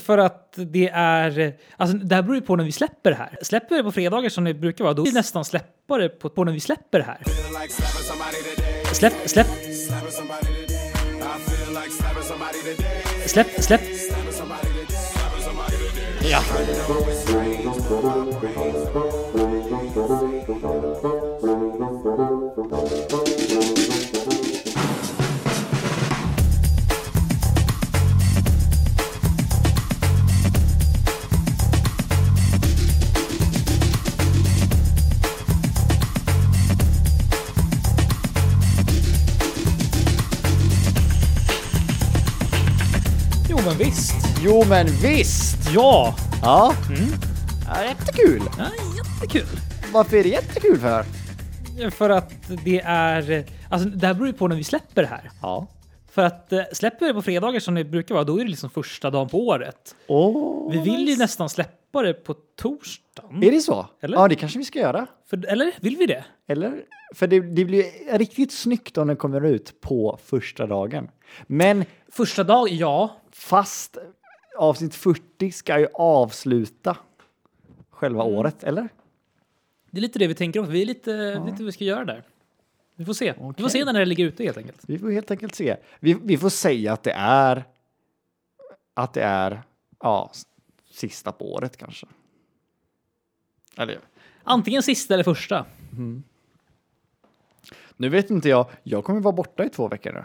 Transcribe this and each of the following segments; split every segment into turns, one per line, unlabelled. För att det är... Alltså det här beror ju på när vi släpper det här. Släpper vi det på fredagar som det brukar vara, då vill vi nästan släppa det på, på när vi släpper det här. Släpp, släpp, släpp, släpp. Ja. Jo men visst.
Jo men visst!
Ja.
Ja. ja jättekul!
ja jättekul.
Varför är det jättekul för?
För att det är... Alltså det här beror ju på när vi släpper det här.
Ja.
För att eh, släpper vi det på fredagar som det brukar vara, då är det liksom första dagen på året.
Åh.
Vi vill ju nästan släppa det på torsdagen.
Är det så?
Eller?
Ja, det kanske vi ska göra.
För, eller vill vi det?
Eller? För det, det blir ju riktigt snyggt om den kommer ut på första dagen. Men
Första dagen, ja.
fast avsnitt 40 ska ju avsluta själva året, eller?
Det är lite det vi tänker om. Vi är lite, lite vad vi ska göra där. Vi får se. Vi får
Okej.
se när det ligger ute helt enkelt.
Vi får helt enkelt se. Vi, vi får säga att det är att det är ja, s- sista på året kanske. Eller
Antingen sista eller första.
nu vet inte jag. Jag kommer vara borta i två veckor nu.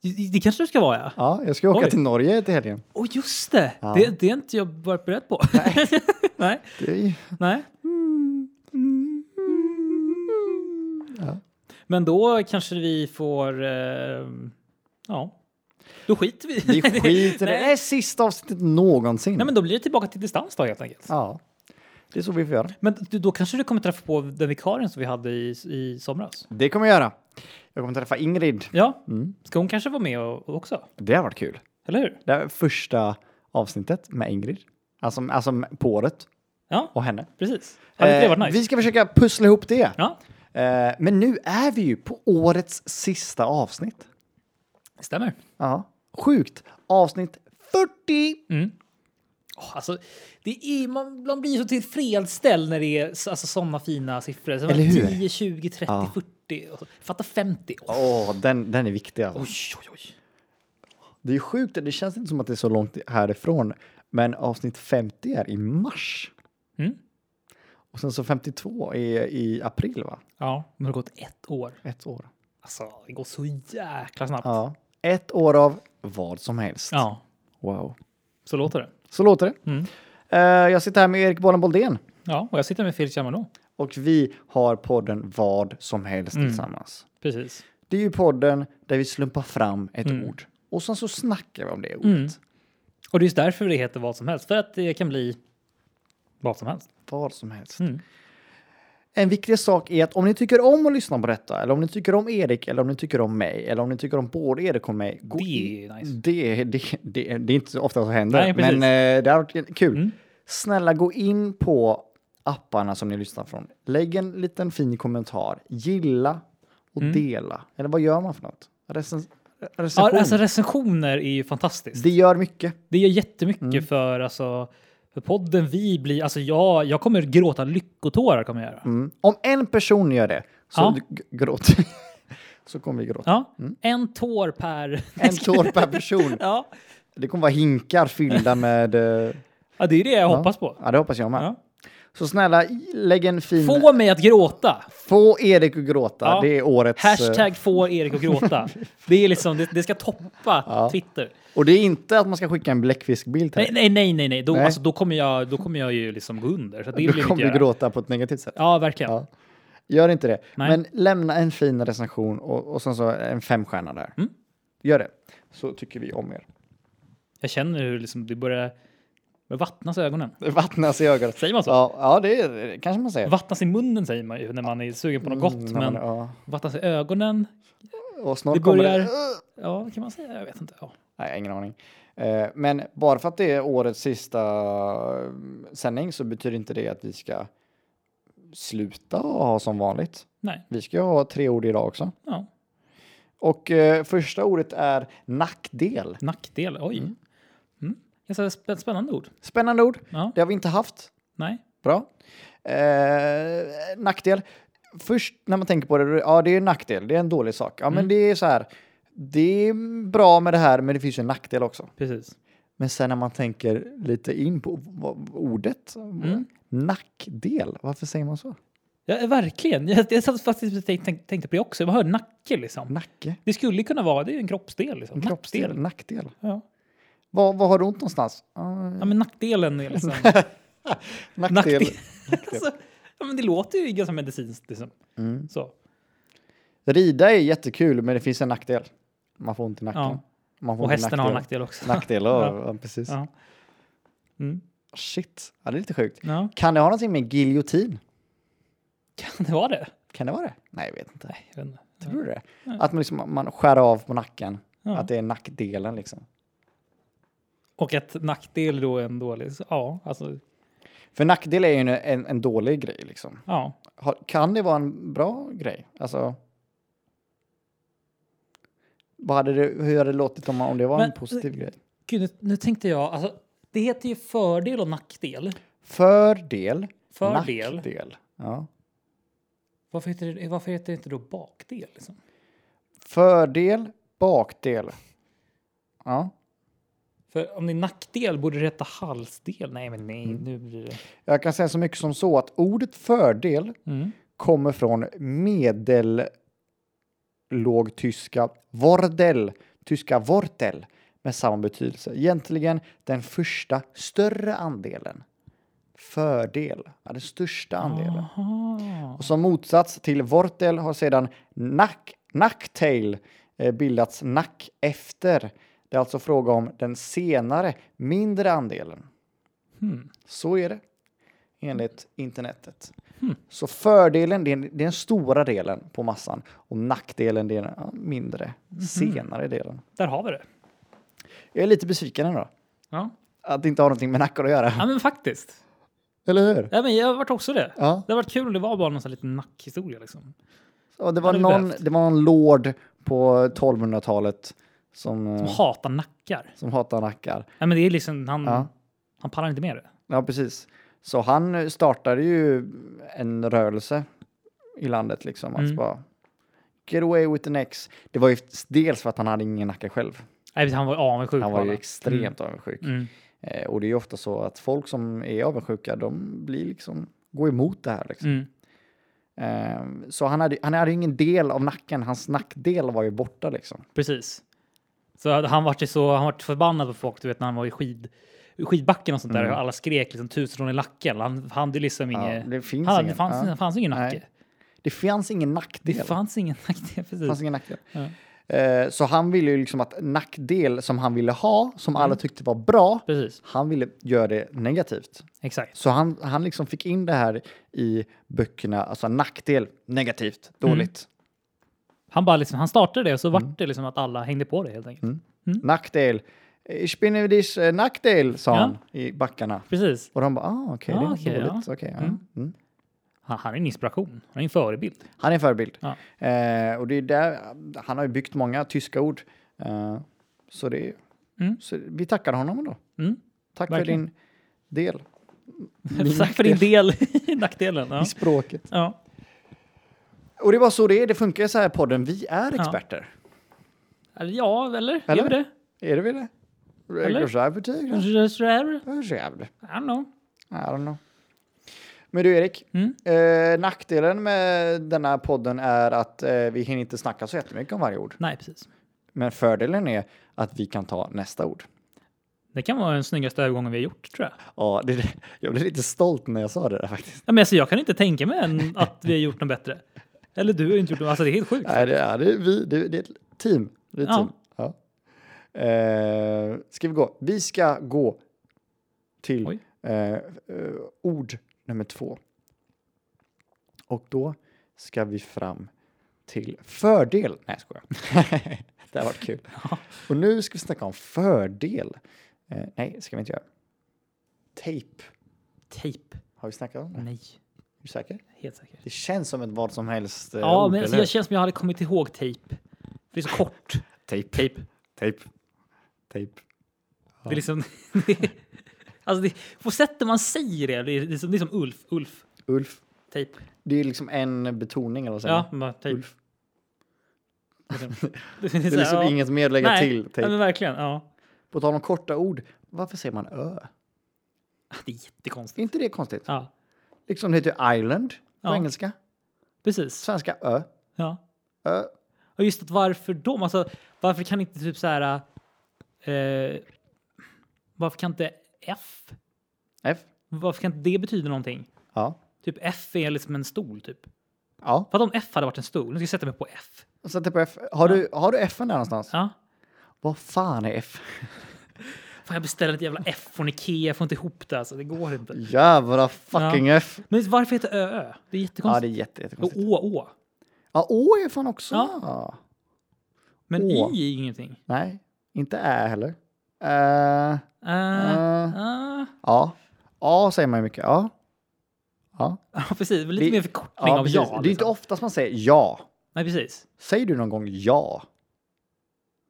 Det, det kanske du ska vara ja.
Ja, jag ska åka
Oj.
till Norge till helgen.
Åh oh, just det!
Ja.
det! Det är inte jag varit beredd på. Nej. nej,
Det är ju-
nej. Men då kanske vi får... Eh, ja. Då skiter vi
Vi skiter i det. Det
Nej.
är sista avsnittet någonsin.
Nej men då blir det tillbaka till distans då helt enkelt.
Ja, det är så vi får göra.
Men du, då kanske du kommer träffa på den vikarien som vi hade i, i somras?
Det kommer jag göra. Jag kommer träffa Ingrid.
Ja,
Mm.
ska hon kanske vara med och, och också?
Det har varit kul.
Eller hur?
Det här första avsnittet med Ingrid. Alltså, alltså på året
Ja,
och henne.
precis. Hade inte det
Eh,
varit nice?
Vi ska försöka pussla ihop det.
Ja,
Eh, men nu är vi ju på årets sista avsnitt.
det stämmer.
Ja. Mm. Sjukt. Avsnitt 40!
Åh, alltså, det är, man, man blir så tillfredsställd när det är s- alltså, sådana fina siffror. Så
Eller hur?
10, 20, 30,
Ja.
40. och så- Fatta 50. Åh,
Åh, den, den är viktig alltså.
Oj, oj, oj.
Det är sjukt, det känns inte som att det är så långt härifrån. Men avsnitt 50 är i mars.
Mm.
Och sen så 52 är i april, va?
Ja, men det har gått ett år.
Ett år.
Alltså, det går så jäkla snabbt.
Ja. Ett år av vad som helst.
Ja, Mm.
Wow.
så låter det.
Så låter det. Eh, jag sitter här med Erik Bollen Boldén
Ja, och jag sitter med Felix Jamalå.
och vi har podden Vad som helst
Mm.
tillsammans.
Precis.
Det är ju podden där vi slumpar fram ett
Mm.
ord och sen så snackar vi om det ordet.
Och det är just därför det heter vad som helst. För att det kan bli vad som helst.
Vad som helst.
Mm.
En viktig sak är att om ni tycker om att lyssna på detta, eller om ni tycker om Erik, eller om ni tycker om mig, eller om ni tycker om både Erik och mig. Gå
Det
in-
är nice.
det, det, det, det är inte så ofta som händer,
Nej,
men
precis.
eh, det har varit kul.
Mm.
Snälla gå in på apparna som ni lyssnar från. Lägg en liten fin kommentar. Gilla och dela. Eller vad gör man för något? Recens- recension.
Mm. Ja, alltså recensioner är ju fantastiskt.
det gör mycket.
Det gör jättemycket
Mm.
för, alltså, för podden. Vi blir, alltså jag, jag kommer gråta lyckotårar kommer jag göra.
Mm. Om en person gör det så
Ja.
g- gråter Så kommer vi gråta.
Ja, en tår per.
Mm. En tår per person.
ja.
Det kommer vara hinkar fyllda med... eh,
ja, det är det jag hoppas på.
Ja, det hoppas jag med.
Ja.
Så snälla, i- lägg en fin... Få,
Få mig att gråta.
Erik att gråta.
Ja.
Det är årets... eh,
Hashtag få Erik att gråta. Det är liksom, det, det ska toppa
Ja.
Twitter.
Och det är inte att man ska skicka en bläckfiskbild till
Nej, nej, nej, nej, nej. Då,
Nej.
Alltså, då, kommer, jag, då kommer jag ju liksom gå under. Så det vill
dig.
jag
Du
inte
kommer
göra.
du gråta på ett negativt sätt.
Ja, verkligen.
Ja. Gör inte det.
Nej.
Men lämna en fin recension och, och sen så en femstjärna där.
Mm.
Gör det. Så tycker vi om er.
Jag känner hur liksom, det börjar börjar vattnas i ögonen.
Det vattnas i ögonen.
Säger man så?
Ja, ja det, är, det kanske man säger.
Vattnas i munnen säger man ju när man är sugen på något gott.
Eh. Mm,
men
ja.
vattnas i ögonen,
Och snart
Det
kommer
börjar-
det. Ugh!
ja, kan man säga? Jag vet inte. Ja.
Nej, jag har ingen aning. Eh, Men bara för att det är årets sista eh, sändning så betyder inte det att vi ska sluta och ha som vanligt.
Nej.
Vi ska ju ha tre ord idag också.
Ja.
Och eh, första ordet är nackdel.
Nackdel, oj. Mm. Ganska spä- spännande ord.
Spännande ord.
Ja,
Det har vi inte haft.
nej.
Bra. Eh, nackdel. Först när man tänker på det, ja det är en nackdel, det är en dålig sak. Ja men det är så här, det är bra med det här men det finns ju en nackdel också.
Precis.
Men sen när man tänker lite in på vad- ordet,
Mm.
nackdel, varför säger man så?
Ja, eh, verkligen. Jag, jag satt faktiskt och tänk- tänk- tänkte på det också. Jag hörde nacke liksom.
Nacke?
Det skulle kunna vara, det är ju en kroppsdel. Liksom.
En kroppsdel? Mm.
Nackdel.
Nackdel?
Ja.
Vad, vad har du ont någonstans? Ja,
ja, men nackdelen är liksom... Nackdel.
nackdel.
alltså, ja, men det låter ju ganska medicinskt liksom.
Mm.
Så.
Rida är jättekul men det finns en nackdel. Man får ont i nacken.
Ja.
Man får
Och
ont i
hästen har en nackdel också.
Nackdel, ja. ja, precis.
Ja. Mm.
Shit, ja, det är lite sjukt.
ja,
Kan det ha någonting med giljotin?
kan det vara det?
Kan det vara det? Nej, jag vet inte.
Nej, jag vet inte.
Tror du det? Att man, liksom, man skär av på nacken.
Ja.
Att det är nackdelen liksom.
Och att nackdel då är en dålig... så- Ja, alltså...
För nackdel är ju en, en, en dålig grej liksom.
Ja.
Har, kan det vara en bra grej? Alltså. Vad hade det, hur hade det låtit om, om det var en
Men-
positiv grej?
Gud, nu, nu tänkte jag... Alltså, det heter ju fördel och nackdel.
Fördel,
Fördel.
nackdel. Ja.
Varför heter, det, varför heter det inte då bakdel? Liksom?
Fördel, bakdel. Ja.
För om det är nackdel borde det heta halsdel. Nej, men nej, nu blir det...
Jag kan säga så mycket som så att ordet fördel
Mm.
kommer från medellågtyska vordel, tyska vortel, med samma betydelse. Egentligen den första större andelen. Fördel, ja, den största andelen.
Aha.
Och som motsats till vortel har sedan nack, nacktail eh, bildats nack efter. Det är alltså fråga om den senare, mindre andelen.
Hmm.
Så är det enligt internetet.
Hmm.
Så fördelen, det är, det är den stora delen på massan och nackdelen, det är den ja, mindre,
Mhm.
senare delen.
Där har vi det.
Jag är lite besviken ändå,
Ja,
att det inte har någonting med nackar att göra.
ja men faktiskt.
Eller hur?
Ja, men jag har varit också det.
Ja.
Det har varit kul om det var bara någon sån här liten nackhistoria. Liksom.
Och det, var
Hade vi
någon,
behövt.
det var någon lord på 1200-talet som,
De
eh,
hatar nackar.
som hatar nackar.
Ja, men det är liksom, han,
Ja.
han pallar inte med det.
Ja, precis. Så han startade ju en rörelse i landet liksom. Att
Mm.
bara, Get away with an ex. Det var ju dels för att han hade ingen nacke själv.
Nej, han var avundsjuk.
Han
på
var ju
alla.
extremt avundsjuk.
Mm.
Eh, och det är ju ofta så att folk som är avundsjuka, de blir liksom, går emot det här. Liksom.
Mm.
Eh, så han hade, han hade ju ingen del av nacken, hans nackdel var ju borta liksom.
Precis. Så hade han varit så han varit förbannad på folk, du vet när han var i skid, i skidbacken och sånt där. Och alla skrek liksom tusen i lacken. Han hade liksom
Mm. Ja,
inget...
det finns
han, det
ingen,
fanns,
ja.
det fanns ingen
Nej,
nacke.
Det fanns ingen nackdel.
det fanns ingen nacke,
Det
precis.
fanns ingen nackdel.
Ja.
Eh, så han ville ju liksom att nackdel som han ville ha, som alla
Mm.
tyckte var bra,
Precis,
han ville göra det negativt.
exakt.
Så han, han liksom fick in det här i böckerna, alltså nackdel, negativt,
Mm.
dåligt.
Han, bara liksom, han startade det och så
Mm.
vart det liksom att alla hängde på det helt enkelt.
Nackdel, ich bin über dich, eh, nackdel, sa
Mm. Ja.
han i backarna.
Precis.
Och de bara, ah, okej,
Ah,
det är
okej,
dåligt. okej, ja.
Mm.
Mm.
Han, han är en inspiration, han är en förebild.
Han är en förebild.
Ja.
Eh, och det är där, han har ju byggt många tyska ord. Eh, så, det,
Mm.
så vi tackar honom då.
Mm.
Tack
Verkligen.
för din del.
Tack för din del i nackdelen. Ja.
i språket.
Ja.
Och det var så det är, det funkar ju så här i podden, vi är experter.
Eller ja, eller?
Eller?
Gör vi det?
Är det vi det?
Eller?
Kanske är betyg, kanske.
Just there?
Kanske jävlar.
I don't know.
I don't know. Men du Erik,
Mm.
eh, nackdelen med den här podden är att eh, vi hinner inte snacka så jättemycket om varje ord.
Nej, precis.
Men fördelen är att vi kan ta nästa ord.
Det kan vara den snyggaste övergången vi har gjort, tror jag.
Ja, det, jag blev lite stolt när jag sa det där faktiskt.
Ja, men alltså, jag kan inte tänka mig än att vi har gjort något bättre. Eller du har inte gjort något. Alltså, det är helt sjukt.
Nej, det är, det är vi, det, det är ett team. Det är ett
Ja.
team. Ja. Eh, ska vi gå? Vi ska gå till
Oj.
eh, eh, ord nummer två. Och då ska vi fram till fördel. Nej, jag skojar. det har varit kul. Och nu ska vi snacka om fördel. Eh, nej, ska vi inte göra. Tejp.
Tejp?
Har vi snackat om det? Är
Nej,
du säker?
helt säkert.
Det känns som ett vad som helst eh,
Ja,
ord,
men alltså,
eller
jag känns som jag hade kommit ihåg tejp. Det är så kort.
Tejp,
Tejp.
tejp, tejp.
Det är liksom... alltså det, på sättet man säger det, det är, det är som, det är som Ulf. Ulf.
Ulf.
Tejp.
Det är liksom en betoning eller vad säger
Ja,
man?
man bara tejp.
Ulf.
Liksom. Det är
Det är
så här,
liksom
ja.
inget mer att lägga
Nej,
till.
Ja,
Tejp.
men verkligen. Ja.
På tal om korta ord, varför säger man ö?
Det är jättekonstigt.
Är inte det konstigt?
Ja,
Liksom det heter ju island på
Ja.
engelska.
precis.
Svenska ö.
Ja.
ö.
Och just att varför de? Alltså, varför kan inte typ så här... Eh, varför kan inte F?
F.
Varför kan inte det betyda någonting?
Ja.
Typ F är liksom en stol, typ.
Ja.
Vad om F hade varit en stol? Nu ska jag sätta mig på F.
Och sätter på F. Har, du, har du F där någonstans?
Ja.
Vad fan är F?
Fan, jag beställer ett jävla F från Ikea. Jag får inte ihop det, alltså. Det går inte.
Jävla fucking F.
Men varför heter Ö Ö? Det är
Ja,
jättekonstigt.
det är jätte,
Och
jättekonstigt.
Å Å.
Ja, å är fan också.
Men
Å.
I är ingenting.
Nej, inte ä heller. Äh,
Äh,
Äh.
äh.
ja. A säger man ju mycket. Ja. Ja.
Ja, precis. Lite
Det-
mer förkortning
ja,
av
precis.
ja.
Det är inte
liksom.
oftast man säger ja.
Nej, precis.
Säger du någon gång ja?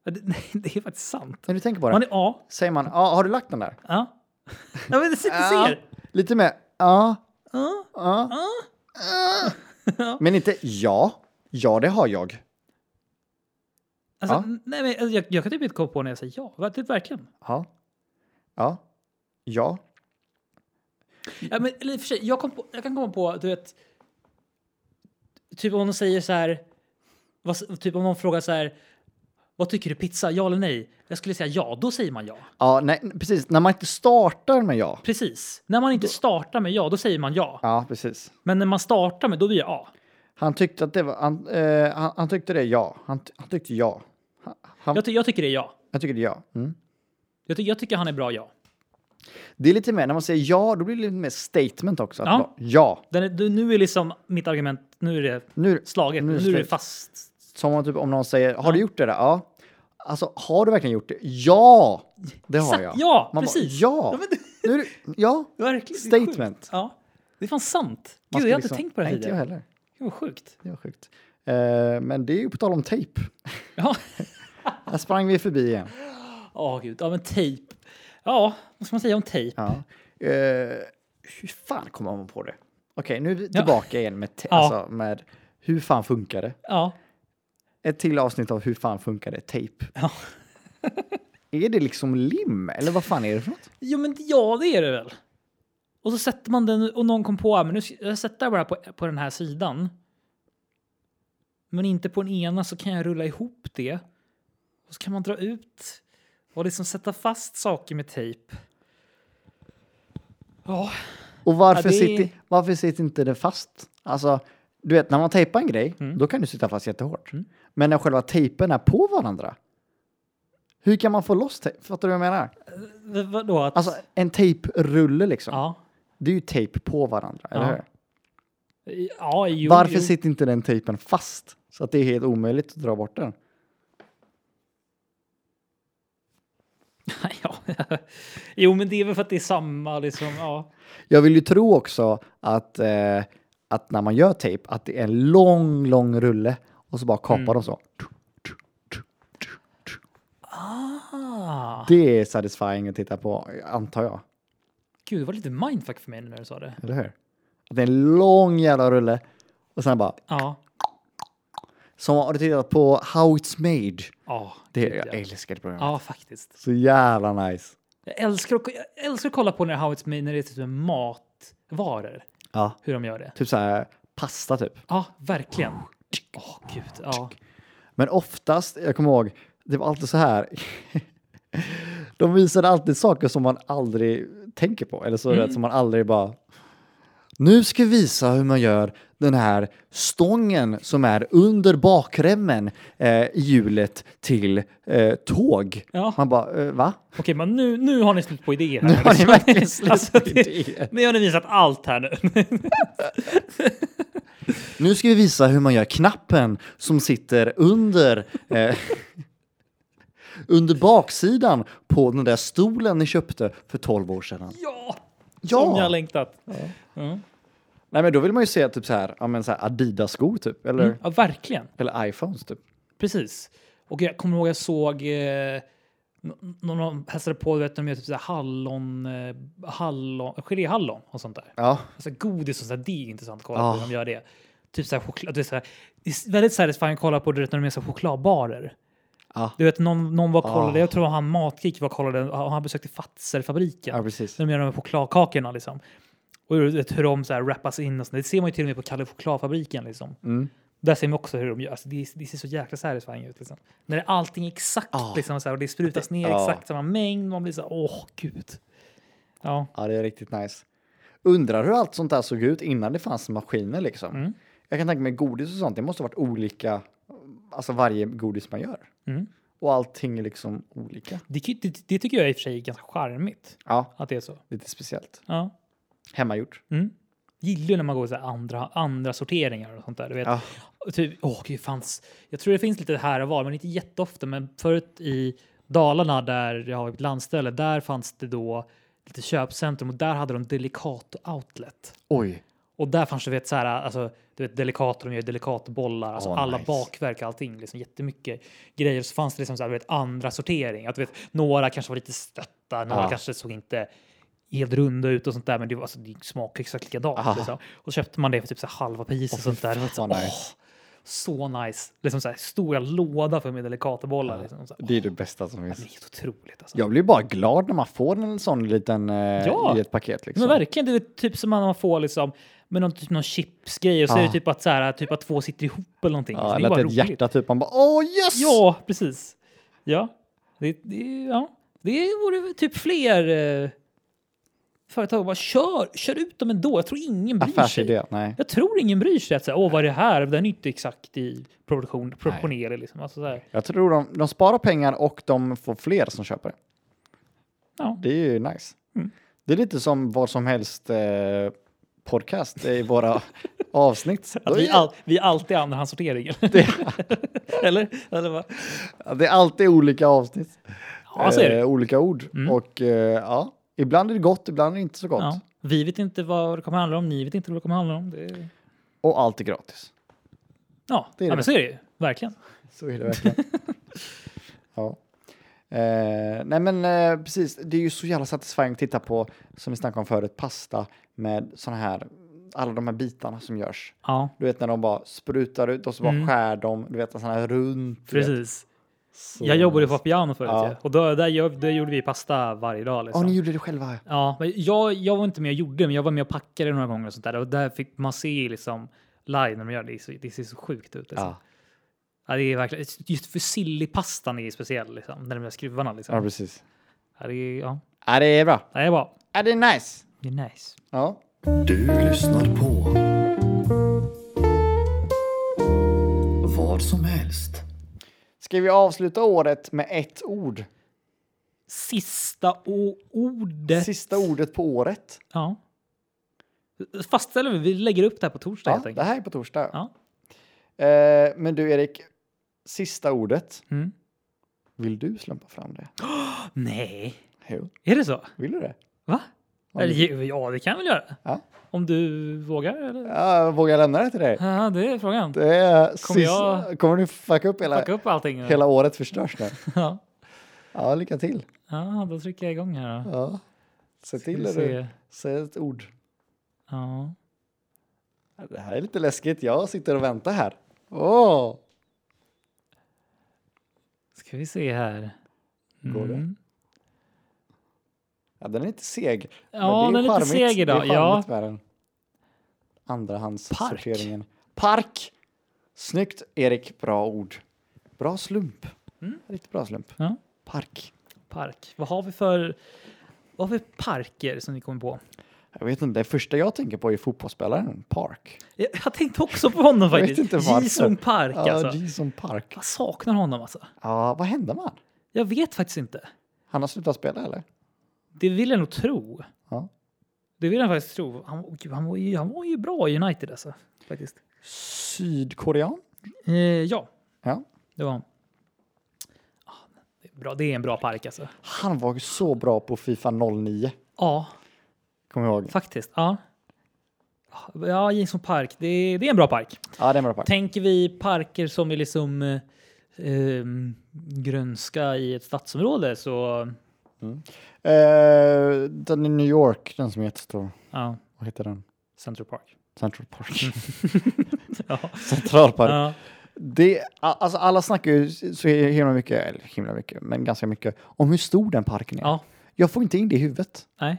Ja, Det, nej, det är faktiskt sant.
När du tänker på det.
Man är A.
Säger man ja, har du lagt den där?
Ja. Ja, men det sitter
Ja.
ser.
Lite mer ja,
Ja.
ja.
Ja.
ja. Men inte ja. Ja, det har jag.
Alltså,
Ja.
nej, men, alltså, jag, jag kan typ inte komma på när jag säger ja. Va, Typ, verkligen.
Ja. Ja. Ja.
Ja, men, eller, i och för sig, jag, kom på, jag kan komma på, du vet, typ om de säger så här, vad, s- typ om någon frågar så här, vad tycker du pizza, ja eller nej? Jag skulle säga ja, då säger man ja.
Ja, nej, precis. När man inte startar med ja.
Precis. När man inte startar med ja, då säger man ja.
Ja, precis.
Men när man startar med, då blir jag ja.
Han tyckte att det var... Han, eh, han, han tyckte det ja. Han, ty- han tyckte ja. Han, han,
Jag, ty- jag tycker det är ja.
jag tycker det ja. Mm.
Jag, ty- jag tycker han är bra ja.
Det är lite mer, när man säger ja, då blir det lite mer statement också. Att
Ja.
bara, ja.
Den är, du, nu är liksom mitt argument, nu är det
Nu,
slaget,
Nu
nu,
är det
är det
slut.
fast.
som om, typ, om någon säger, har du gjort det där? Ja. Alltså, har du verkligen gjort det? Ja! Det har
Exakt,
jag.
ja,
Man
precis.
Bara, ja!
men det-
nu är det, ja.
Verkligen. det är sjukt.
Statement.
Ja. Det är fan sant.
Man
Gud,
ska
jag har
liksom-
inte tänkt på det
Nej,
här
inte jag
tidigare.
heller.
Det var sjukt.
Det var sjukt. Eh, men det är ju på tal om tejp.
Ja.
Här sprang vi förbi igen.
Åh gud, ja men tejp. Ja, vad ska man säga om tejp?
Ja. Eh, hur fan kommer man på det? Okej, nu är vi tillbaka igen med, te-
Ja.
alltså, med hur fan funkar det?
Ja.
Ett till avsnitt av hur fan funkar det? Tejp.
Ja.
är det liksom lim? Eller vad fan är det för något?
Jo men ja, det är det väl. Och så sätter man den och någon kom på, "Ah, men nu ska- jag sätter bara på, på den här sidan. Men inte på den ena så kan jag rulla ihop det. Och så kan man dra ut och liksom sätta fast saker med tejp. Ja,
Och varför,
Ja, det är-
sitter, varför sitter inte det fast? Alltså, du vet, när man tejpar en grej,
Mm.
då kan du sitta fast jättehårt. Men när själva tejpen är på varandra, hur kan man få loss tejp? Fattar du vad jag menar?
v- vadå? Att,
Alltså, en tejprulle liksom.
ja.
Det är ju tejp på varandra,
Ja.
eller hur?
Ja, jo,
Varför
jo.
sitter inte den tejpen fast? Så att det är helt omöjligt att dra bort den.
ja. Jo, men det är väl för att det är samma liksom. Ja.
Jag vill ju tro också att, eh, att när man gör tejp, att det är en lång, lång rulle och så bara kapar de så.
Ah.
Det är satisfying att titta på, antar jag.
Gud, det var lite mindfuck för mig när du sa det.
Eller hur? Att det är en lång jävla rulle och sen bara,
Ja.
som har du tittat på How It's Made?
Ja,
Det,
gud,
jag
ja.
älskar det programmet.
ja, faktiskt.
Så jävla nice.
Jag älskar, att, jag älskar att kolla på när How It's Made när det är typ matvaror.
Ja.
Hur de gör det.
Typ så här pasta typ.
Ja, verkligen.
Oh,
Åh, gud. Ja.
Men oftast, jag kommer ihåg, det var alltid så här. De visade alltid saker som man aldrig tänker på, eller så mm. som man aldrig bara... Nu ska vi visa hur man gör den här stången som är under bakremmen eh, i hjulet till eh, tåg.
Ja.
Man bara, eh, va?
Okej, men nu, nu har ni slut på idéer här. Liksom. Alltså,
Nu har ni verkligen slut på idéer.
det, nu har ni visat allt här nu.
Nu ska vi visa hur man gör knappen som sitter under eh, under baksidan på den där stolen ni köpte för 12 år sedan.
ja!
Ja.
Som jag längtat. Ja,
Nej, men då vill man ju
Mm.
se typ så här, ja, men så här Adidas-skor typ, eller,
ja verkligen.
eller iPhones typ.
Precis. Och jag kommer ihåg jag såg eh, n- någon av dem hälsade på, du vet, de gör typ så här hallon, eh, hallon, geléhallon och sånt där.
Ja,
Alltså godis och så här, det är intressant att kolla
Ah.
på hur de gör det. Typ så här choklad, det är, så här, det är väldigt satisfying att kolla på du vet, när de är så här chokladbarer.
ja,
Du vet, någon, någon var och kollade,
Ah.
jag tror det var han Matgeek var och kollade, och han besökte Fazer-fabriken.
ja precis.
När de gör de här chokladkakorna liksom. Och du vet, hur de så här wrappas in och sånt. Det ser man ju till och med på Kalle Chokladfabriken liksom.
Mm.
Där ser man också hur de gör. Alltså, det, det ser så jäkla satisfying ut liksom. När det- allting är exakt
Ah.
liksom så här, och det sprutas ner
ah.
exakt samma mängd. Man blir så här, åh gud. Ja,
Ja, det är riktigt nice. Undrar hur allt sånt där såg ut innan det fanns maskiner liksom.
Mm.
Jag kan tänka mig godis och sånt, det måste ha varit olika, alltså varje godis man gör.
Mm.
Och allting är liksom olika.
det, kan ju- det, det tycker jag i och för sig är ganska charmigt.
Ja,
Att det är så.
lite speciellt.
Ja.
Hemmagjort.
Mm. Gillar ju när man går så här andra, andra sorteringar och sånt där. Du vet,
Ja.
Och Typ, åh, gud, fanns. Jag tror det finns lite här och var, men inte jätteofta. Men förut i Dalarna, där jag har ett landställe, där fanns det då lite köpcentrum och där hade de Delicato Outlet.
Oj.
Och där fanns det, vet, så här, alltså, du vet, Delicato, de gör Delicatobollar, alltså
Åh,
alla
nice.
bakverk, allting, liksom jättemycket grejer. Så fanns det liksom så här, du vet, andra sortering. Att, du vet, några kanske var lite stötta, några
Ja.
kanske såg inte helt runda ut och sånt där, men det, var- alltså, det smakade exakt likadant.
Ah.
Liksom. Och så köpte man det för typ så här halva priset.
Åh,
och sånt
fy
där. Det var så,
fan,
åh,
nice.
så nice. Liksom så här, stora låda för med Delicatobollar. Liksom. Så, här, åh,
Det är det bästa som
det är
finns.
helt otroligt. Alltså.
Jag blir bara glad när man får en sån liten eh,
Ja.
i ett paket. Liksom.
Men verkligen, det är typ som man får liksom, med någon, typ någon chipsgrej och så
Ah.
är det typ att, så här, typ att två sitter ihop eller någonting. Alltså, det
Ja,
är
eller att
bara
det är
roligt.
ett hjärta typ. Man bara åh yes!
Ja, precis. Ja, det, det, ja. det vore typ fler eh, företag bara kör, kör ut dem ändå. Jag tror ingen bryr sig.
Affärsidé. Nej.
Jag tror ingen bryr sig att säga åh vad är det här? Den är inte exakt i proportion, proportionerlig liksom. Alltså, så här.
Jag tror de, de sparar pengar och de får fler som köper det.
Ja.
Det är ju nice.
Mm.
Det är lite som vad som helst eh, podcast i våra avsnitt. Då
Att vi,
är-
all, vi är alltid andrahandssortering. eller? eller vad?
Det är alltid olika avsnitt.
Ja, så är det.
Eh, olika ord.
Mm.
Och eh, ja, ibland är det gott, ibland är det inte så gott.
Ja. Vi vet inte vad det kommer handla om, ni vet inte vad det kommer handla om. Det är...
Och allt är gratis.
Ja,
Det är
ja
det.
men så är det ju. Verkligen.
Så är det verkligen. ja. Eh, nej men eh, precis, det är ju så jävla satisfying att titta på, som vi snackade om förut, pasta med såna här, alla de här bitarna som görs.
Ja,
Du vet när de bara sprutar ut och så bara
Mm.
skär de, du vet en sån här runt. du vet.
precis.
Så
Jag jobbade ju på
nice.
Papiano förut
Ja.
ju. och då, där, gör, där gjorde vi pasta varje dag.
Ja,
Liksom.
ni gjorde det själva.
Ja, men jag, jag var inte med och gjorde, men jag var med och packade några gånger och sånt där. Och där fick man se liksom live när de gör det. Det ser- Det ser så sjukt ut. Liksom. Ja.
Ja,
det är verkligen, just för sillypastan är ju speciell, liksom, när de där skruvarna. Liksom.
ja
Ja.
precis.
det är, ja.
Ja, det är bra.
det är bra.
Ja, det är nice.
Det är nice.
Ja.
Du lyssnar på vad som helst.
Ska vi avsluta året med ett ord?
Sista o- ordet.
Sista ordet på året.
Ja. Fastställer vi, vi lägger upp det här på torsdag
Ja,
helt
det
enkelt.
här är på torsdag.
Ja.
Eh, men du Erik, sista ordet.
Mm.
Vill du slumpa fram det?
Nej,
Jo,
är det så?
vill du det?
Va?
Ja,
Eller, ju- ja, det kan jag väl göra.
Ja.
Om du vågar? Eller?
Ja, jag vågar lämna det till dig?
Ja, det är frågan.
Det är
Kommer
kommer,
jag-
kommer du fucka upp hela,
Packa upp allting. nu.
hela året förstörs nu?
Ja.
Ja, lycka till.
ja, då trycker jag igång här. Då.
Ja. Se
Ska
till
vi
när
se.
du säger ett ord.
Ja.
Det här är lite läskigt. Jag sitter och väntar här. Åh!
Ska vi se här.
Går det?
Mm.
Ja, den är inte seg.
Ja, den är lite
charmigt.
seg idag.
Det är charmigt
Ja.
med den. Andrahandssorteringen. Park. Snyggt, Erik. Bra ord. Bra slump. Riktigt bra slump.
Mm. Ja.
Park.
Park. Vad har vi för... Vad har vi för parker som ni kommer på?
Jag vet inte, det första jag tänker på är fotbollsspelaren Park.
Jag, jag tänkte också på honom
vet
faktiskt.
inte varför.
Jisung Park
Ja,
alltså.
Jason Park.
Jag saknar honom alltså.
Ja, vad hände med han?
Jag vet faktiskt inte.
Han har slutat spela eller?
Det vill jag nog tro.
Ja.
Det vill jag faktiskt tro. Han, åh, gud, han, var, ju, han var ju bra i United alltså. Faktiskt.
Sydkorean?
Eh, ja,
Ja.
det var han. Ah, Det är, bra. det är en bra park alltså.
Han var ju så bra på Fifa 09.
Ja,
Kommer jag ihåg.
faktiskt. Ja. Ja, Jason Park. Det är, det är en bra park.
Ja, det är en bra park.
Tänker vi parker som är liksom eh, ehm, grönska i ett stadsområde så
Eh, den i New York, den som är jättestor.
ja,
Vad heter den?
Central Park.
Central Park.
Ja.
Centralpark.
Ja.
Det, a- alltså alla snackar ju så himla mycket, eller himla mycket, men ganska mycket om hur stor den parken är.
Ja.
Jag får inte in det i huvudet.
Nej.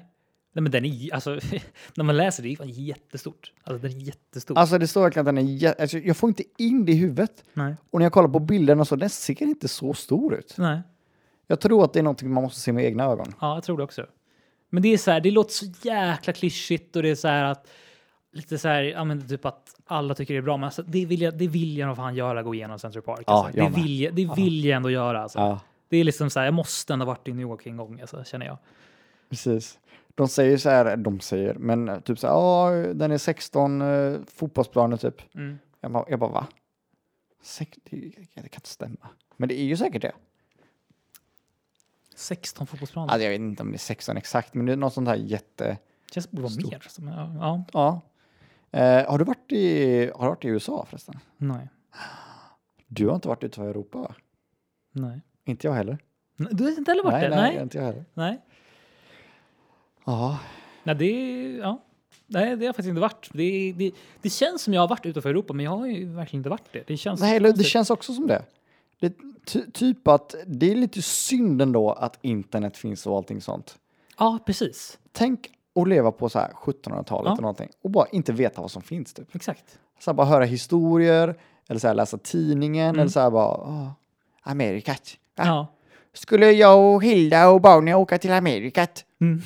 Nej, men den är j- alltså när man läser det, det är fan jättestort. Alltså den är jättestor.
Alltså det står verkligen att den är, jä- alltså, jag får inte in det i huvudet.
nej.
Och när jag kollar på bilderna så, den ser inte så stor ut.
Nej.
Jag tror att det är någonting man måste se med egna ögon.
Ja, jag tror det också. Men det är så här, det låter så jäkla klyschigt och det är så här att lite så här, ja men typ att alla tycker det är bra, men alltså, det vill jag, det vill jag nog fan göra, gå igenom Central Park.
Ja,
alltså.
jag
det
med.
vill jag, det vill jag ändå göra. Alltså.
Ja,
Det är liksom så här, jag måste ändå ha varit i New York en gång, alltså, känner jag.
precis. De säger så här, de säger, men eh, typ så här, ja, den är 16 eh, fotbollsplaner typ.
Mm.
Jag bara, jag bara va? Sex, det, det kan inte stämma. Men det är ju säkert det.
16 fotbollsplaner.
Alltså jag vet inte om det är 16 exakt, men det är något sånt här jätte...
det känns som det borde vara mer. Alltså, men, ja, ja,
Ja. Eh, har, du varit i, har du varit i USA förresten?
nej,
Du har inte varit utanför Europa va?
nej.
Inte jag heller.
Nej, Du har inte heller varit
nej,
där?
nej,
Nej.
inte jag heller.
nej.
Ja,
Nej, det är... Ja. Nej, det har jag faktiskt inte varit. Det, det, det känns som jag har varit utanför Europa, men jag har ju verkligen inte varit det. Det känns...
nej, eller det
konstigt.
känns också som det. det ty, typ att det är lite synd ändå att internet finns och allting sånt.
Ja, precis.
Tänk att leva på så här 1700-talet
Ja.
eller någonting och bara inte veta vad som finns typ.
Exakt.
Så här, bara höra historier eller så här, läsa tidningen eller så här bara "Åh, Amerikat. Va?
Mm. Ja.
skulle jag och Hilda och Bonnie åka till Amerikat.
Mm.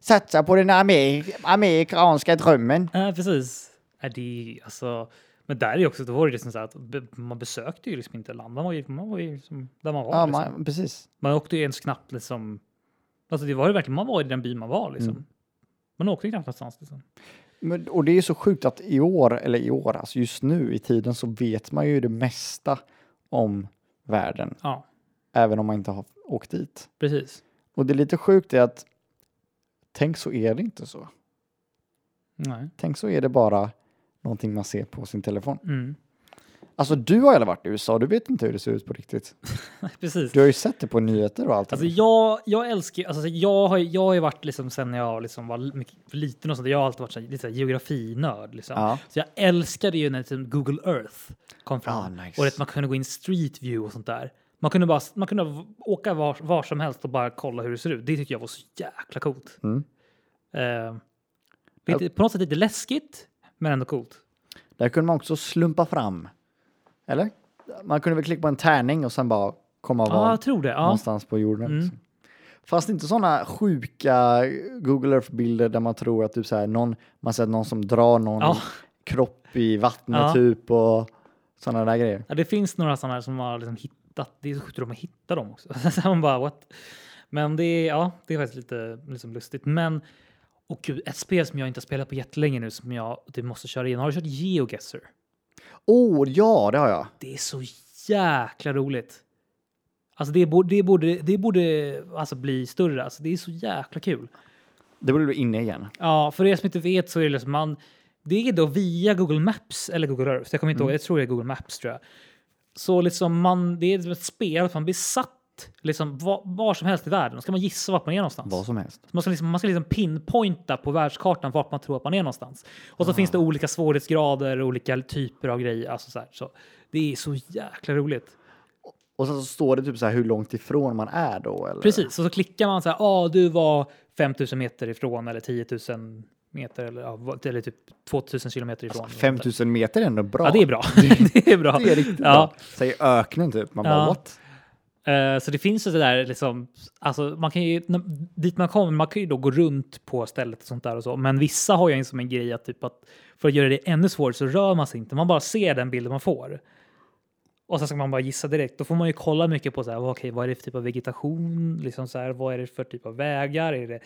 Satsa på den amer- amerikanska drömmen.
Ja, precis. Ja, det är ju, alltså... Men där är ju också, då var det liksom så här att be- man besökte ju liksom inte land. Man var ju, man var ju liksom där man var.
Ja,
liksom.
man, precis.
Man åkte ju ens knappt liksom... Alltså det var ju verkligen, man var i den by man var liksom. Man åkte ju knappt någonstans liksom.
Men, och det är så sjukt att i år, eller i år, alltså just nu i tiden så vet man ju det mesta om världen,
Ja,
även om man inte har åkt dit.
precis.
Och det är lite sjukt är att tänk så är det inte så.
Nej.
Tänk så är det bara någonting man ser på sin telefon.
Mm.
Alltså du har ju aldrig varit i USA, du vet inte hur det ser ut på riktigt.
Precis.
Du har ju sett det på nyheter och allting.
Alltså jag, jag älskar alltså jag har, jag har ju varit liksom sen jag liksom var mycket- liten och sånt, jag har alltid varit så här, lite så här geografinörd liksom.
Ja.
Så jag älskade ju när liksom Google Earth kom fram
Ah, nice.
och att man kunde gå in Street View och sånt där. Man kunde, bara, man kunde v- åka var, var som helst och bara kolla hur det ser ut. Det tyckte jag var så jäkla coolt.
Mm.
Eh, lite, på något sätt lite läskigt, men ändå coolt.
Där kunde man också slumpa fram. Eller? Man kunde väl klicka på en tärning och sen bara komma
Ja,
var
jag tror det. Ja.
någonstans på jorden.
Mm.
Liksom. Fast inte sådana sjuka Google Earth-bilder där man tror att typ så här, någon, man ser någon som drar någon
Ja.
kropp i vattnet
Ja.
typ och sådana där grejer.
Ja, det finns några sådana här som har liksom hittat. Det är så sjukt hur de har hittat dem också. Så man bara what? Men det är, ja, det är faktiskt lite liksom lustigt. Men och gud, ett spel som jag inte har spelat på jättelänge nu som jag typ måste köra igen. Har du kört GeoGuessr?
Åh, oh, ja, det har jag.
Det är så jäkla roligt. Alltså det borde, det borde, det borde alltså bli större. Alltså det är så jäkla kul.
Det borde bli inne igen.
Ja, för er som inte vet så är det liksom man... Det är då via Google Maps eller Google Earth. Jag kommer inte ihåg. Jag tror det är Google Maps tror jag. Så liksom man, det är som ett spel. att Man blir satt liksom var, var som helst i världen. Då ska man gissa vart man är någonstans.
Vad som helst.
Så Man ska, liksom, man ska liksom pinpointa på världskartan vart man tror att man är någonstans. Och så finns det olika svårighetsgrader och olika typer av grejer. Alltså så här, så det är så jäkla roligt.
Och sen så står det typ så här hur långt ifrån man är då. Eller?
Precis, och så klickar man så här, ah, du var 5000 meter ifrån eller 10 000 meter eller, ja, vad- eller typ 2000 kilometer ifrån.
5000 meter är ändå bra.
Ja, det är bra. det är bra.
Alltså, Det är riktigt
ja.
bra. Säger öknen typ. Man bara
Ja.
what?
Eh, Så det finns ju det där liksom, alltså man kan ju, när- dit man kommer, man kan ju då gå runt på stället och sånt där och så, men vissa har ju en som en grej att typ att för att göra det ännu svårare så rör man sig inte, man bara ser den bilden man får. Och sen ska man bara gissa direkt, då får man ju kolla mycket på så här, okej, vad är det för typ av vegetation, liksom så här, vad är det för typ av vägar, är det,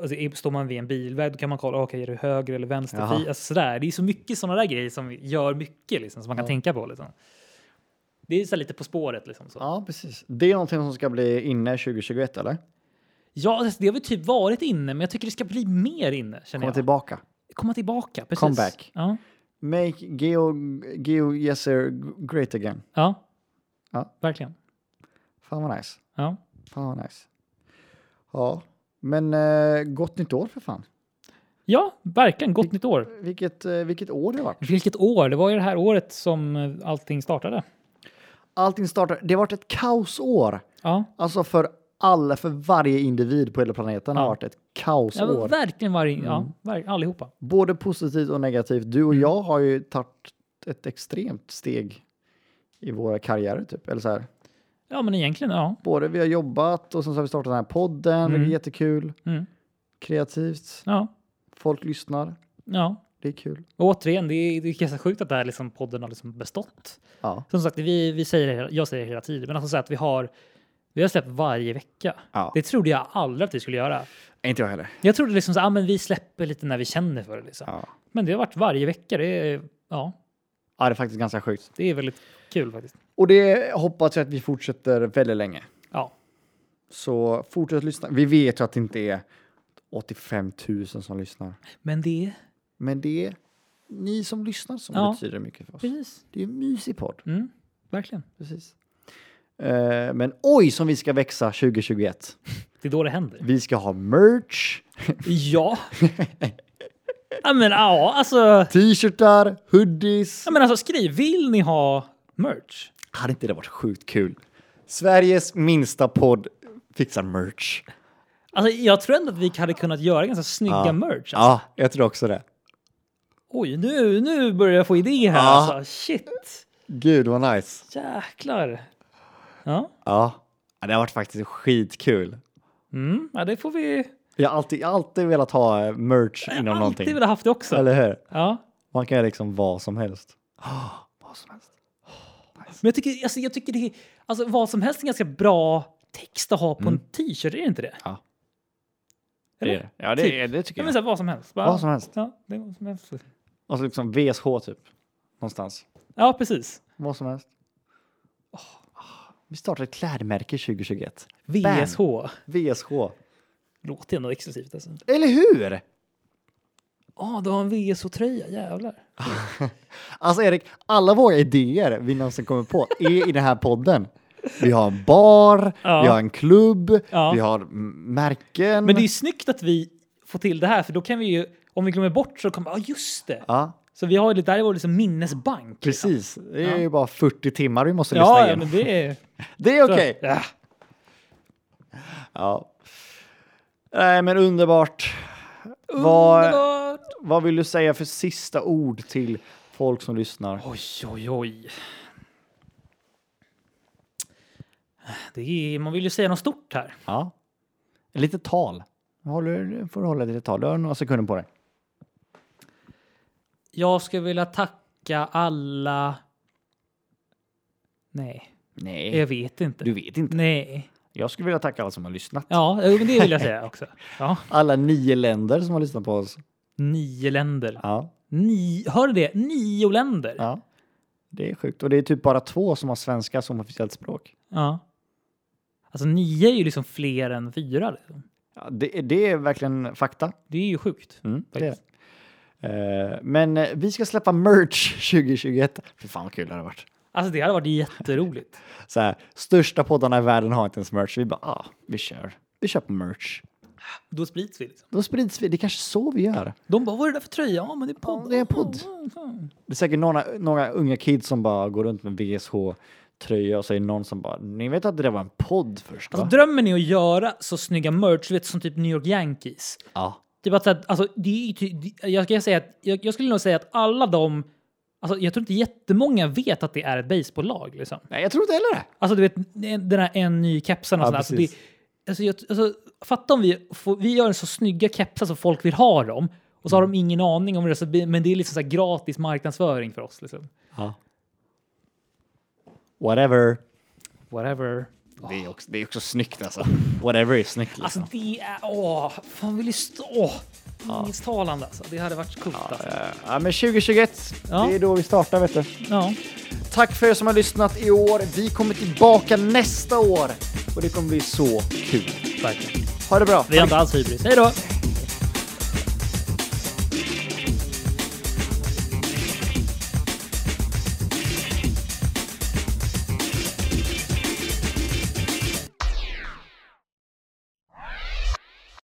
alltså, är- står man vid en bilväg, då kan man kolla, okej, är det höger eller vänster
Jaha.
fil, alltså, så där. Det är så mycket sådana där grejer som gör mycket liksom, som man kan tänka på liksom. Det är så här lite på spåret liksom. Så.
Ja, precis. Det är någonting som ska bli inne 2021 eller?
Ja, alltså, det har väl typ varit inne, men jag tycker det ska bli mer inne. Känner
Komma
jag.
tillbaka.
Komma tillbaka, precis.
Comeback.
Ja.
Make Geo, Geo Yeser great again.
ja.
Ja.
Verkligen.
Fan vad nice.
Ja.
Fan vad nice. Ja, men eh, gott nytt år för fan.
ja, verkligen. Gott nytt år.
Vilket, eh, vilket år det var.
Vilket år! Det var ju det här året som eh, allting startade.
Allting startade. Det har varit ett kaosår.
Ja,
Alltså för alla, för varje individ på hela planeten
Ja.
har varit ett
ja
kaosår.
verkligen varje...
Mm.
Ja, verk, allihopa.
Både positivt och negativt. Du och
Mm.
jag har ju tagit ett extremt steg i våra karriärer typ. Eller så här.
Ja, men egentligen, ja.
Både vi har jobbat och sen så har vi startat den här podden, vilket är jättekul.
Mm.
Kreativt,
Ja,
folk lyssnar,
ja.
det är kul.
Och återigen, det är, det är ganska sjukt att det här liksom podden har liksom bestått.
Ja.
Som sagt, vi, vi säger, det hela- jag säger det hela tiden, men alltså så att vi har, vi har släppt varje vecka.
Ja.
Det trodde jag aldrig att vi skulle göra.
Inte jag heller.
Jag trodde liksom så, ah, men vi släpper lite när vi känner för det. Liksom.
Ja.
Men det har varit varje vecka. Det är, ja,
ja, det är faktiskt ganska sjukt.
det är väldigt kul faktiskt.
Och det hoppas jag att vi fortsätter väldigt länge.
Ja,
Så fortsätt lyssna. Vi vet ju att det inte är 85 000 som lyssnar.
men det är
Men det är ni som lyssnar som
Ja.
betyder mycket för oss.
precis.
Det är en mysig podd.
Mm, verkligen.
Precis. Eh, men oj som vi ska växa 2021.
Det är då det händer.
Vi ska ha merch,
Ja. ja, men ja, alltså.
t-shirtar, hoodies.
Ja, men alltså skriv, vill ni ha merch?
Hade inte det varit sjukt kul? Sveriges minsta podd fixar merch.
Alltså, jag tror ändå att vi hade kunnat göra ganska snygga
Ja.
merch. Alltså.
Ja, jag tror också det.
Oj, nu, nu börjar jag få idéer här.
Ja.
Alltså. Shit,
Gud vad nice.
jäklar. Ja,
Ja, Ja, det har varit faktiskt skitkul.
mm, ja det får vi.
Jag har alltid, jag har alltid velat ha eh, merch inom
Jag har alltid
någonting.
velat haft det också.
Eller hur?
Ja.
Man kan göra liksom vad som helst. vad som helst.
Men jag tycker, alltså, jag tycker det är, alltså, vad som helst är en ganska bra text att ha på en t-shirt, är det inte det?
Ja.
Eller?
ja,
Typ.
är- det tycker
Ja, men så här, vad som helst. Bara,
Vad som helst.
Ja, det är vad som helst.
Och så liksom VSH typ. Någonstans.
Ja, precis.
Vad som helst. ah, Vi startar ett klädmärke 2021.
VSH.
VSH.
Låter ändå exklusivt alltså.
Eller hur?
Ja, du har en VSH-tröja, jävlar.
Alltså Erik, alla våra idéer vi någonsin kommer på är i den här podden. Vi har en bar,
Ja.
vi har en klubb,
Ja.
vi har m- märken.
Men det är ju snyggt att vi får till det här, för då kan vi ju, om vi glömmer bort så kommer, ja just det.
Ja,
Så vi har ju, det där är vår liksom minnesbank. liksom.
precis. Det är ju bara 40 timmar vi måste lyssna
Ja, ja,
igenom.
men det är...
Det är okej.
Ja.
Ja. Nej, men underbart. Vad,
Underbart!
vad vill du säga för sista ord till folk som lyssnar?
Oj, oj, oj. Det är, man vill ju säga något stort här.
Ja. Ett litet tal. Håller, får du hålla ett litet tal. Du har några sekunder på dig.
Jag skulle vilja tacka alla... Nej,
Nej,
jag vet inte.
du vet inte.
Nej.
Jag skulle vilja tacka alla som har lyssnat.
Ja, jo, men det vill jag säga också. Ja.
Alla nio länder som har lyssnat på oss.
Nio länder.
Ja.
Ni, hör du det? Nio länder. Ja.
ja. Det är sjukt. Och det är typ bara två som har svenska som officiellt språk.
Alltså nio är ju liksom fler än fyra. Liksom.
Ja, det, är- det är verkligen fakta.
Det är ju sjukt.
Mm, det är.
faktiskt.
det. Eh, Men eh, vi ska släppa merch 2021. Fy fan vad kul det hade varit.
Alltså det hade varit jätteroligt.
Så här, största poddarna i världen har inte ens merch. Vi bara, ah, vi kör. Vi köper merch.
Då sprids vi liksom.
Då sprids vi. Det är kanske så vi gör.
De bara, vad är det där för tröja? Ja, men det är podd.
Ja, det är podd. Det är säkert några, några unga kids som bara går runt med VSH-tröja och så är det någon som bara, ni vet att det där var en podd först va?
Alltså, drömmen är att göra så snygga merch, du vet som typ New York Yankees.
Ja.
Typ att, så att, alltså, det är, ju ty- det- jag, ska säga att, jag, jag skulle nog säga att alla de, alltså, jag tror inte jättemånga vet att det är ett baseballlag. Liksom.
Nej, jag tror inte heller det.
Alltså du vet, den här en ny kepsen och
Ja,
sådär. Alltså, det,
precis.
alltså, jag, alltså, fatta om vi, får, vi gör en så snygga kepsar så folk vill ha dem. Och så har
Mm.
de ingen aning om det, så, blir- men det är liksom så här gratis marknadsföring för oss. Liksom.
Ja. Whatever.
Whatever.
Det, är också, det är också snyggt alltså. Whatever är snyggt liksom.
Alltså det är... Åh, fan vill ju stå... Åh, minnestalande alltså. Det hade varit coolt alltså.
Eh, Ja, men 2021,
Ja.
det är då vi startar vet du.
Ja.
Tack för er som har lyssnat i år. Vi kommer tillbaka nästa år och det kommer bli så kul.
Verkligen.
Ha det bra.
Vi är inte alls hybris. Hej då!